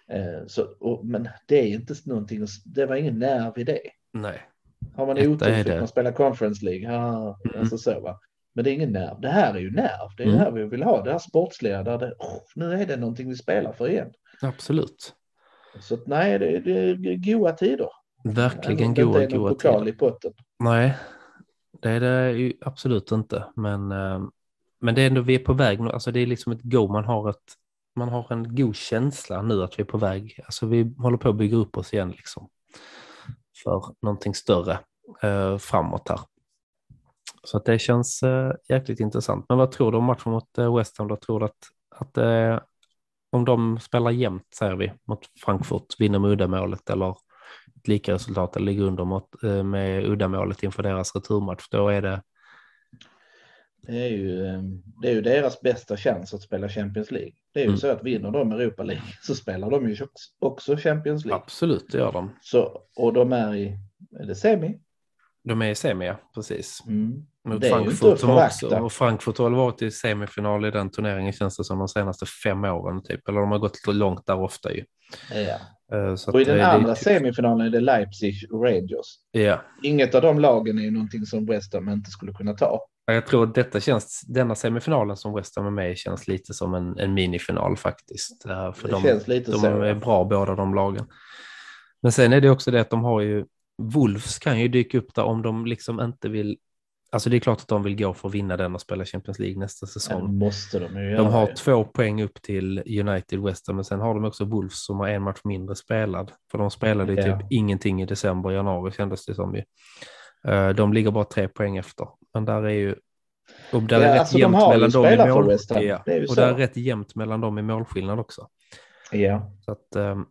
C: League. Eh, Så, och, men det är inte någonting, att s- det var ingen nerv i det.
B: Nej.
C: Har man
B: Detta är
C: otur
B: det.
C: fick man spela Conference League. Ja,
B: Mm.
C: alltså så, va? Men det är ingen nerv. Det här är ju nerv. Det är
B: Mm.
C: det här vi vill ha. Det här sportsliga. Där det, oh, nu är det någonting vi spelar för igen.
B: Absolut.
C: Så att, nej, det, det är goa tider.
B: Verkligen
C: Även om det
B: goa,
C: inte är någon
B: goa
C: pokal
B: tider.
C: i potten.
B: Nej, Det är det ju absolut inte, men, eh, men det är ändå vi är på väg nu. Alltså det är liksom ett go, man har, ett, man har en god känsla nu att vi är på väg. Alltså vi håller på att bygga upp oss igen liksom för någonting större eh, framåt här. Så att det känns eh, jäkligt intressant. Men vad tror du om matchen mot eh, West Ham? Då tror du att, att eh, om de spelar jämnt, säger vi, mot Frankfurt, vinner med uddamålet eller ett lika resultat eller ligger under mot, eh, med uddamålet inför deras returmatch, då är det...
C: Det är ju, eh, det är ju deras bästa chans att spela Champions League. Det är ju
B: Mm.
C: så att vinner de Europa League så spelar de ju också- också Champions League.
B: Absolut, det gör de.
C: Så, och de är i är det semi.
B: De är i semi, ja, precis.
C: Mm.
B: Mot
C: Det är ju inte
B: Frankfurt,
C: att
B: som också,
C: förakta.
B: och Frankfurt har väl varit i semifinal i den turneringen känns det som de senaste fem åren typ. Eller de har gått lite långt där ofta ju.
C: Ja.
B: Eh, Så
C: Och i
B: att,
C: den
B: eh, det är
C: andra
B: typ-
C: semifinalen är det Leipzig och Rangers.
B: Ja,
C: Inget av de lagen är ju någonting som West Ham inte skulle kunna ta.
B: jag tror att detta känns, denna semifinalen som West Ham är med i känns lite som en, en minifinal faktiskt. Eh, För
C: det
B: de,
C: känns lite
B: de
C: så.
B: är bra båda de lagen. Men sen är det också det att de har ju, Wolves kan ju dyka upp där om de liksom inte vill, alltså det är klart att de vill gå för att vinna den och spela Champions League nästa
C: Ja,
B: säsong.
C: det måste de ju göra.
B: De har
C: ju.
B: två poäng upp till United West Ham, men sen har de också Wolves som har en match mindre spelad. För de spelade ju
C: Ja.
B: typ ingenting i december, januari kändes det som ju. Eh, De ligger bara tre poäng efter. Men där är ju... Och där
C: Ja,
B: är rätt
C: alltså, de
B: jämnt
C: har ju
B: mellan dem i
C: spelat för
B: mål...
C: West Ham.
B: Ja.
C: Det är ju
B: Och
C: så.
B: där är rätt jämnt mellan dem i målskillnad också.
C: Ja.
B: Så att, ehm,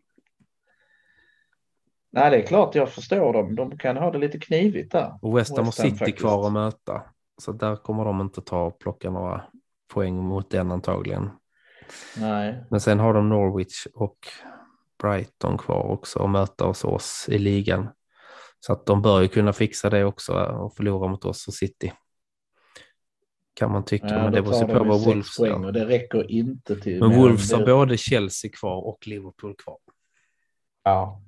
C: Nej, det är klart jag förstår dem. De kan ha det lite knivigt där.
B: och West Ham och
C: West Ham
B: City
C: faktiskt.
B: kvar att möta. Så där kommer de inte ta och plocka några poäng mot den antagligen.
C: Nej,
B: Men sen har de Norwich och Brighton kvar också och möta oss, oss i ligan. Så att de bör ju kunna fixa det också och förlora mot oss och City. Kan man tycka,
C: ja,
B: men det
C: då
B: beror
C: tar
B: ju på
C: de ju
B: vad
C: sex
B: Wolves
C: poäng
B: gör.
C: och det räcker inte till.
B: Men
C: mer
B: Wolves
C: än
B: har
C: det.
B: både Chelsea kvar och Liverpool kvar.
C: Ja.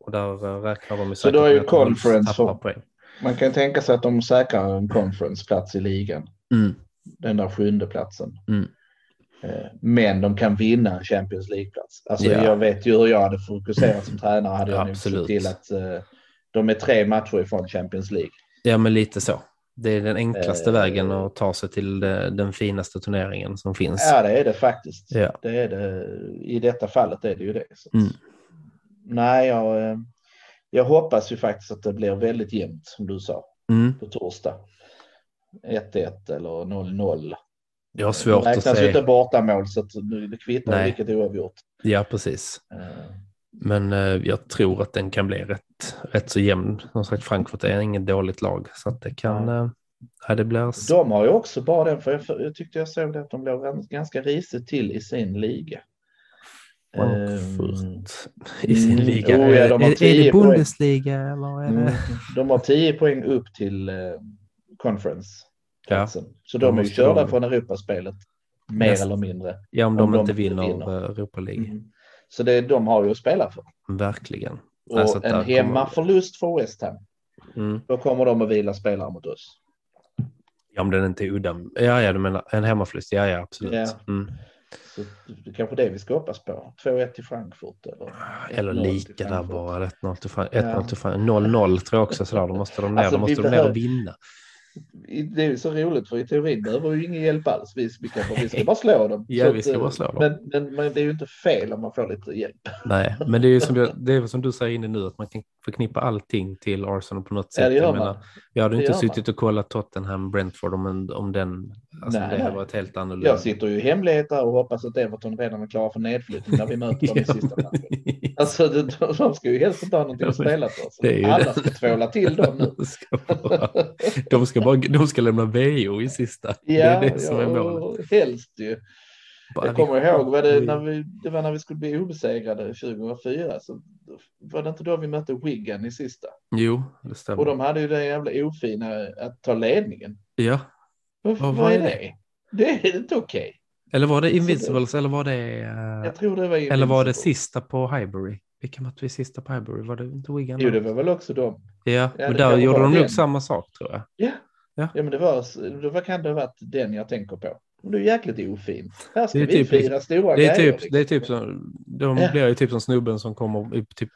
B: Och där eh, räknar de ju
C: Så
B: säkert
C: då är ju
B: med att Wolves
C: conference
B: tappar
C: för-
B: poäng.
C: Man kan tänka sig att de säkrar en conferenceplats i ligan.
B: Mm.
C: Den där sjunde platsen.
B: Mm.
C: Eh, Men de kan vinna en Champions League-plats. Alltså,
B: Ja.
C: Jag vet ju hur jag hade fokuserat som tränare. Hade jag nog
B: Absolut.
C: sett till att eh, de är tre matcher ifrån Champions League.
B: Ja, men lite så. Det är den enklaste
C: Eh.
B: vägen att ta sig till eh, den finaste turneringen som finns.
C: Ja, det är det faktiskt.
B: Ja.
C: Det är det. I detta fallet är det ju det. Så. att-
B: Mm.
C: Nej, jag, eh, jag hoppas ju faktiskt att det blir väldigt jämnt som du sa
B: Mm.
C: på torsdag. 1-1 eller 0-0.
B: Jag har svårt
C: det
B: att
C: räknas ju inte
B: se.
C: bortamål så att nu- det kvittar
B: Nej.
C: Nej. vilket oavgjort.
B: Ja, precis.
C: Eh,
B: Men eh, jag tror att den kan bli rätt, rätt så jämn. Som sagt, Frankfurt är inget dåligt lag. Så att det kan...
C: Nej.
B: Eh, ja, det blir... s-
C: De har ju också bara den, för jag, för jag tyckte jag såg det att de låg gans- ganska risigt till i sin liga. Ehm,
B: Frankfurt i sin
C: Mm.
B: liga.
C: Oh, ja,
B: Är-
C: de har
B: är, är det
C: tio poäng.
B: Bundesliga eller är det...
C: Mm. De har 10 poäng upp till eh, conference.
B: Ja.
C: Så
B: De
C: de är ju
B: måste
C: körda
B: de-
C: från Europaspelet. Mer
B: Näst-
C: eller mindre.
B: Ja, om de,
C: Om de
B: inte
C: inte
B: vinner,
C: vinner. Mm.
B: eh, Europa League.
C: Så det är, de har ju att spela för.
B: Verkligen.
C: Och
B: Alltså, där
C: en
B: kommer-
C: hemmaförlust för West Ham.
B: Mm.
C: Då kommer de att vila spelare mot oss.
B: Ja, om den inte är udda. Ja, ja, du menar en hemmaförlust. Ja, ja, absolut.
C: Ja.
B: Mm.
C: Så det är kanske det vi ska hoppas på. 2-1 till Frankfurt. Eller,
B: Eller
C: 1-0 till
B: lika där
C: Frankfurt.
B: bara. 1-0 till Frank-
C: Ja.
B: 1-0 till Frank- 0-0 tror jag också. Sådär. Då måste de ner,
C: Alltså,
B: då
C: vi
B: måste de ner
C: behöver-
B: och vinna.
C: Det är ju så roligt för i teorin behöver vi ju ingen hjälp alls. Vi, vi, kan, vi ska bara slå dem.
B: Ja,
C: Så
B: vi ska
C: att, eh,
B: bara slå dem.
C: Men, men, men det är ju inte fel om man får lite hjälp.
B: Nej, men det är ju som, jag, det är som du säger inne nu, att man kan förknippa allting till Arsenal på något sätt.
C: Ja, det gör
B: Jag
C: man.
B: menar, vi hade ju
C: Det
B: inte
C: gör man.
B: suttit och kollat Tottenham-Brentford om, en- om den, alltså
C: Nej,
B: det hade
C: nej.
B: varit helt annorlunda.
C: Jag sitter ju i hemlighet där och hoppas att Everton redan är klara för nedflyttning när vi möter dem i sista matchen. Alltså, de, de- de ska ju helst inte ha någonting att spela för. Så
B: Det är ju
C: alla ska tvåla till dem nu.
B: De ska, bara, de, ska bara, de ska lämna VO i sista. det är det som är målet.
C: och helst ju.
B: Bara,
C: Jag kommer ihåg, vad det,
B: vi-
C: när vi, det var när vi skulle bli obesegrade 2004. Så var det inte då vi mötte Wigan i sista?
B: Jo, det stämmer.
C: Och de hade ju den jävla ofina att ta ledningen.
B: Ja.
C: Vad,
B: Vad
C: vad,
B: var
C: är
B: det?
C: det? Det är inte okej.
B: Eller var det Invincibles eller var det, eh,
C: Jag tror det var
B: eller var det
C: Invincible.
B: sista på Highbury? Vilken match vi sista på Highbury? Var det inte Wigan?
C: Jo, det var väl också de.
B: Ja,
C: det
B: men där
C: kanske
B: gjorde
C: var
B: de nog
C: den.
B: samma sak tror jag.
C: Ja,
B: Ja.
C: ja men det var, det var, kan det ha varit den jag tänker på. Men Det är jäkligt ofint. Här ska
B: Det är
C: vi
B: typ-
C: fira stora
B: Det är
C: grejer.
B: typ, det är typ som, de
C: liksom Ja.
B: blir ju typ som snubben som kommer i typ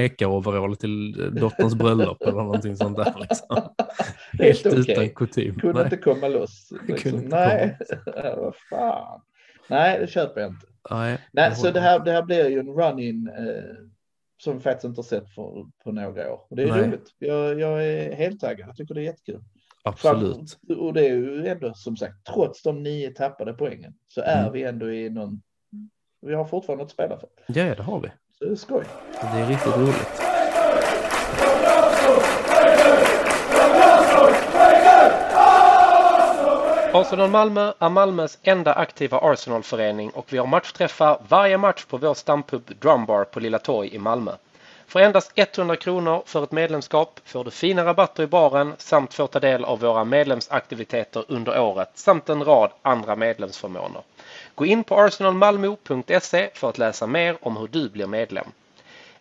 B: meka-overall till eh, dotterns bröllop eller någonting sånt där. Liksom. Helt
C: Helt okej.
B: utan kutym.
C: Kunde
B: Nej.
C: inte komma loss. Liksom.
B: kunde inte
C: Nej, vad fan. Nej, det köper jag inte.
B: Nej,
C: Nej,
B: jag
C: så
B: håller
C: det här, det här blir ju en run-in eh, som vi faktiskt inte har sett för, på några år. Och det är
B: Nej.
C: roligt. Jag, jag är helt taggad. Jag tycker det är jättekul.
B: Absolut.
C: Fram- Och det är ju ändå som sagt, trots de nio tappade poängen så är
B: Mm.
C: vi ändå i någon... Vi har fortfarande något att spela för.
B: Ja, ja, det har vi.
C: Så det är skoj.
B: Det är riktigt roligt. Arsenal Malmö är Malmös enda aktiva Arsenalförening och vi har matchträffar varje match på vår stampub Drumbar på Lilla Torg i Malmö. För endast 100 kronor för ett medlemskap får du fina rabatter i baren samt får ta del av våra medlemsaktiviteter under året samt en rad andra medlemsförmåner. Gå in på arsenalmalmo.se för att läsa mer om hur du blir medlem.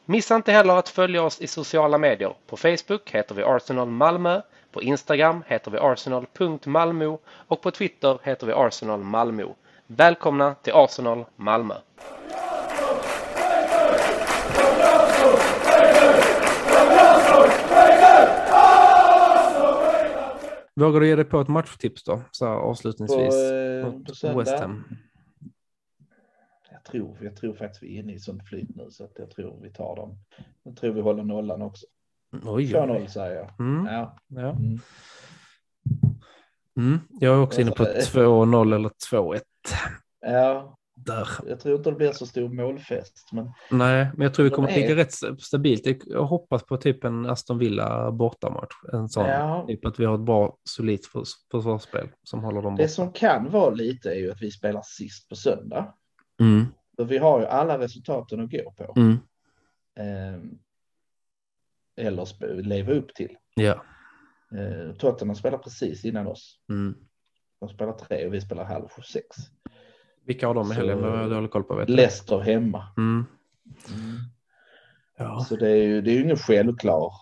B: Missa inte heller att följa oss i sociala medier. På Facebook heter vi Arsenal Malmö, på Instagram heter vi arsenal.malmo och på Twitter heter vi Arsenal Malmö. Välkomna till Arsenal Malmö! Vågar du ge dig på ett matchtips då, så här
C: På,
B: avslutningsvis?
C: eh, på
B: mot West
C: söndag.
B: Ham.
C: Jag tror, jag tror faktiskt vi är inne i sånt flyt nu så att jag tror vi tar dem. Jag tror vi håller nollan också. eh,
B: Oj, oj.
C: 2-0 säger jag.
B: Mm,
C: Ja.
B: ja.
C: Mm.
B: Mm, jag är också inne på 2-0 eller 2-1
C: ja,
B: där.
C: jag tror inte det blir så stor målfest. Men
B: Nej, men jag tror vi
C: De
B: kommer att ligga
C: är-
B: rätt stabilt. Jag hoppas på typ en Aston Villa bortamatch. En sån.
C: ja,
B: Typ att vi har ett bra, solitt förs- försvarsspel som håller dem
C: det
B: borta.
C: som kan vara lite är ju att vi spelar sist på söndag.
B: Mm,
C: För vi har ju alla resultaten att gå på.
B: mm,
C: Ehm, eller sp- leva upp till.
B: ja.
C: Eh, Tottenham spelar precis innan oss.
B: Mm.
C: De spelar tre och vi spelar halv sex.
B: Vilka har de i
C: Så-
B: helgen? Det har jag dålig koll på. Vet jag.
C: Leicester hemma.
B: Mm. Ja,
C: Så det är ju det är ju ingen självklar.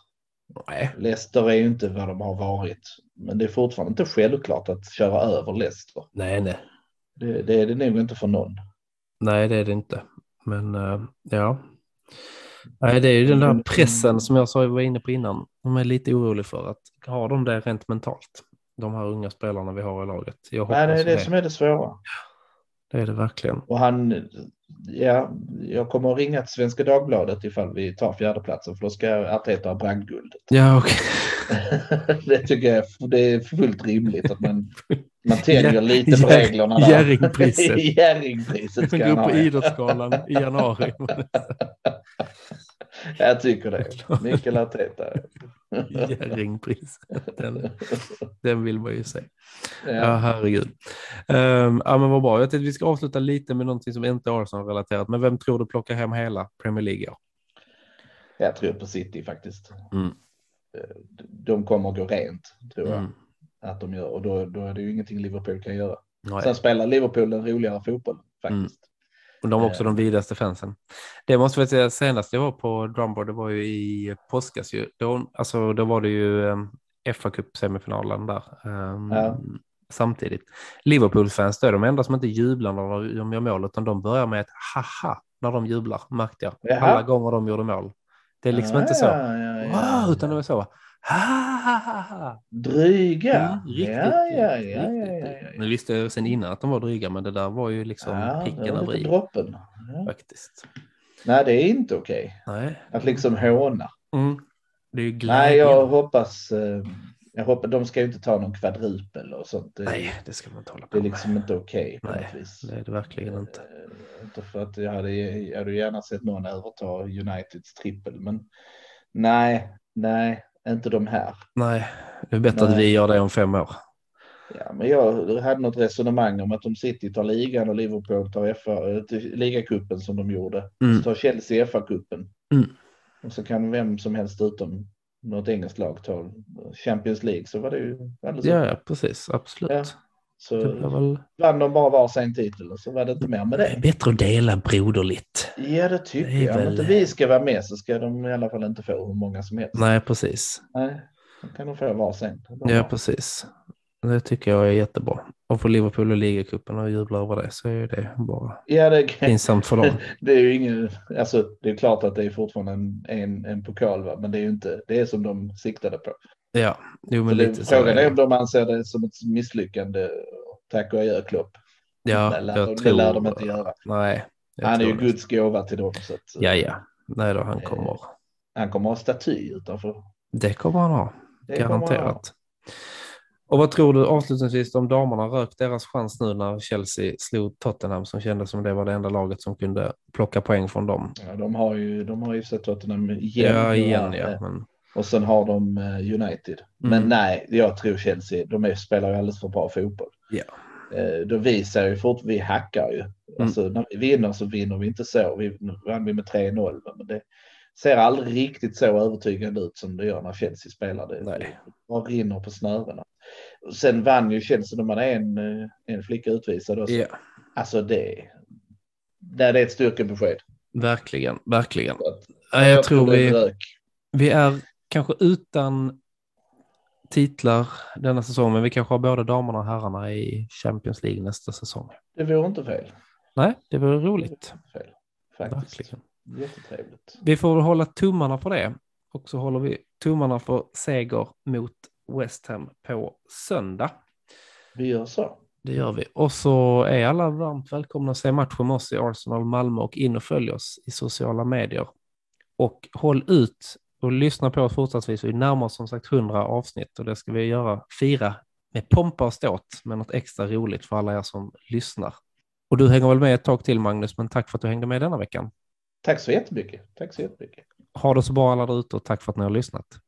B: nej.
C: Leicester är ju inte vad de har varit. Men det är fortfarande inte självklart att köra över Leicester.
B: Nej, nej.
C: Det, det är det nog inte för någon.
B: Nej, det är det inte. Men eh, ja. Nej, det är ju den
C: Mm.
B: där pressen som jag sa jag var inne på innan. De är lite orolig för att har de det rent mentalt? De här unga spelarna vi har i laget. Jag hoppas
C: Nej, det är det
B: det.
C: som är det svåra.
B: Det är det verkligen.
C: Och han, ja, jag kommer att ringa till Svenska Dagbladet ifall vi tar fjärdeplatsen för då ska Arteta ha bragdguldet.
B: Ja, okej.
C: det tycker jag är- det är fullt rimligt att man, man tänjer
B: Ja,
C: lite på
B: ja,
C: reglerna. där.
B: Jerringpriset.
C: Jerringpriset ska
B: Gå
C: han
B: upp
C: ha.
B: på
C: ja.
B: Idrottsgalan i januari.
C: Jag tycker det. Mikael Arteta.
B: Jerringpriset. Den, den vill man ju se. Ja,
C: Ja.
B: herregud. Ehm, ja, men vad bra. Jag tänkte att vi ska avsluta lite med någonting som inte är Arsenal-relaterat. Men vem tror du plockar hem hela Premier League i år?
C: Jag tror på City faktiskt. Eh,
B: Mm.
C: De kommer att gå rent, tror jag.
B: Mm.
C: Att de gör. Och då, då är det ju ingenting Liverpool kan göra.
B: Nej. Mm.
C: Sen spelar Liverpool en roligare fotboll faktiskt.
B: Och de har också de
C: Eh.
B: vidaste fansen. Det måste jag säga, senast jag var på Drumboard, det var ju i påskas ju. Då, alltså, då var det ju eh, FA Cup-semifinalen där. ehm,
C: Ja.
B: Samtidigt. Liverpool-fans, då är de enda som inte jublar när de gör mål, utan de börjar med ett haha när de jublar, märkte jag.
C: Jaha.
B: Alla gånger de gjorde mål. Det är liksom inte så,
C: Ah, Ja, ja, ja.
B: wow, utan det var så, ha
C: Dryga.
B: Mm, riktigt
C: ja,
B: dyrt,
C: ja, ja,
B: riktigt
C: ja, ja,
B: dyrt.
C: ja.
B: Nu visste jag sen innan att de var dryga, men det där var ju liksom
C: Ja, det
B: pricken
C: var
B: över
C: lite
B: i
C: droppen. Ja.
B: faktiskt.
C: Nej, det är inte okej.
B: Nej.
C: Att liksom håna.
B: Mm. Det är ju glädjen.
C: Nej, jag hoppas... eh, Jag hoppas de ska ju inte ta någon kvadrupel och sånt. Det,
B: Nej, det ska man inte hålla på
C: det är
B: med.
C: liksom inte okej på
B: Nej,
C: något vis.
B: Det är det verkligen inte.
C: Eh, Inte för att jag hade, jag hade gärna sett någon överta Uniteds trippel, men nej, nej, inte de här.
B: Nej, det är bättre att
C: Nej.
B: vi gör det om fem år.
C: Ja, men jag hade något resonemang om att om City tar ligan och Liverpool tar FA, eh, till ligacupen som de gjorde,
B: Mm.
C: så tar Chelsea FA-cupen.
B: Mm.
C: Och så kan vem som helst utom något engelskt lag ta Champions League, så var det ju alldeles
B: Ja,
C: utmärkt.
B: ja, precis. Absolut.
C: Ja.
B: Det blir
C: Så
B: väl
C: vann de bara var sin titel och så var det inte mer med det.
B: bättre att dela broderligt.
C: Ja, det tycker
B: Det är
C: jag. Om
B: väl-
C: inte vi ska vara med så ska de i alla fall inte få hur många som helst.
B: Nej, precis.
C: Nej, då kan de få var sen.
B: Ja, precis. Det tycker jag är jättebra. Och för Liverpool och ligacupen och jublar över det så är det bara
C: Ja, det, kan-
B: pinsamt för dem.
C: det är ju ingen, alltså det är klart att det är fortfarande en, en, en pokal, va? men det är ju inte, det är som de siktade på.
B: Ja, jo,
C: Så
B: men
C: det,
B: lite så. är
C: frågan är
B: det.
C: om de anser det som ett misslyckande. Tack och adjö Klopp.
B: Ja,
C: det, lär,
B: jag
C: de-
B: tror...
C: det lär de inte göra.
B: Nej. jag
C: Han är ju
B: tror det.
C: Guds Eh. gåva till dem. Så att,
B: Ja, ja. Nej då, han kommer.
C: Han kommer ha staty utanför.
B: Det kommer han ha.
C: Det kommer han ha.
B: Garanterat. Och vad tror du avslutningsvis om damerna? Rök deras chans nu när Chelsea slog Tottenham som kändes som det var det enda laget som kunde plocka poäng från dem?
C: Ja, de har ju, de har ju sett Tottenham igen.
B: Ja,
C: nu,
B: igen
C: eh,
B: ja. Men,
C: Och sen har de eh, United.
B: Mm.
C: Men nej, jag tror Chelsea, de är, spelar ju alldeles för bra fotboll.
B: Ja. Mm.
C: Eh, Då visar ju fort, vi hackar ju. Alltså när vi vinner så vinner vi inte så. Vi nu vann vi med 3-0. va, Men det ser aldrig riktigt så övertygande ut som det gör när Chelsea spelar. Det
B: Nej.
C: bara rinner på snörena. Och Sen vann ju Chelsea, de hade en, eh, en flicka utvisad. Också.
B: ja,
C: Alltså det, där det är ett styrkebesked.
B: verkligen, verkligen.
C: Så att-
B: Ja, Jag tror
C: det är
B: vi...
C: rök.
B: Vi är kanske utan titlar denna säsong, men vi kanske har både damerna och herrarna i Champions League nästa säsong.
C: Det vore inte fel.
B: Nej, det vore roligt.
C: fel faktiskt.
B: Verkligen.
C: Jättetrevligt.
B: Vi får väl hålla tummarna för det och så håller vi tummarna för seger mot West Ham på söndag.
C: Vi gör så.
B: Det gör vi. Och så är alla varmt välkomna att se matchen med oss i Arsenal Malmö och in och följ oss i sociala medier. Och håll ut och lyssna på oss fortsättningsvis. Vi närmar oss som sagt 100 avsnitt och det ska vi göra, fira med pompa och ståt med något extra roligt för alla er som lyssnar. Och du hänger väl med ett tag till Magnus, men tack för att du hängde med denna veckan.
C: Tack så jättemycket. Tack så jättemycket.
B: Ha det så bra alla där ute och tack för att ni har lyssnat.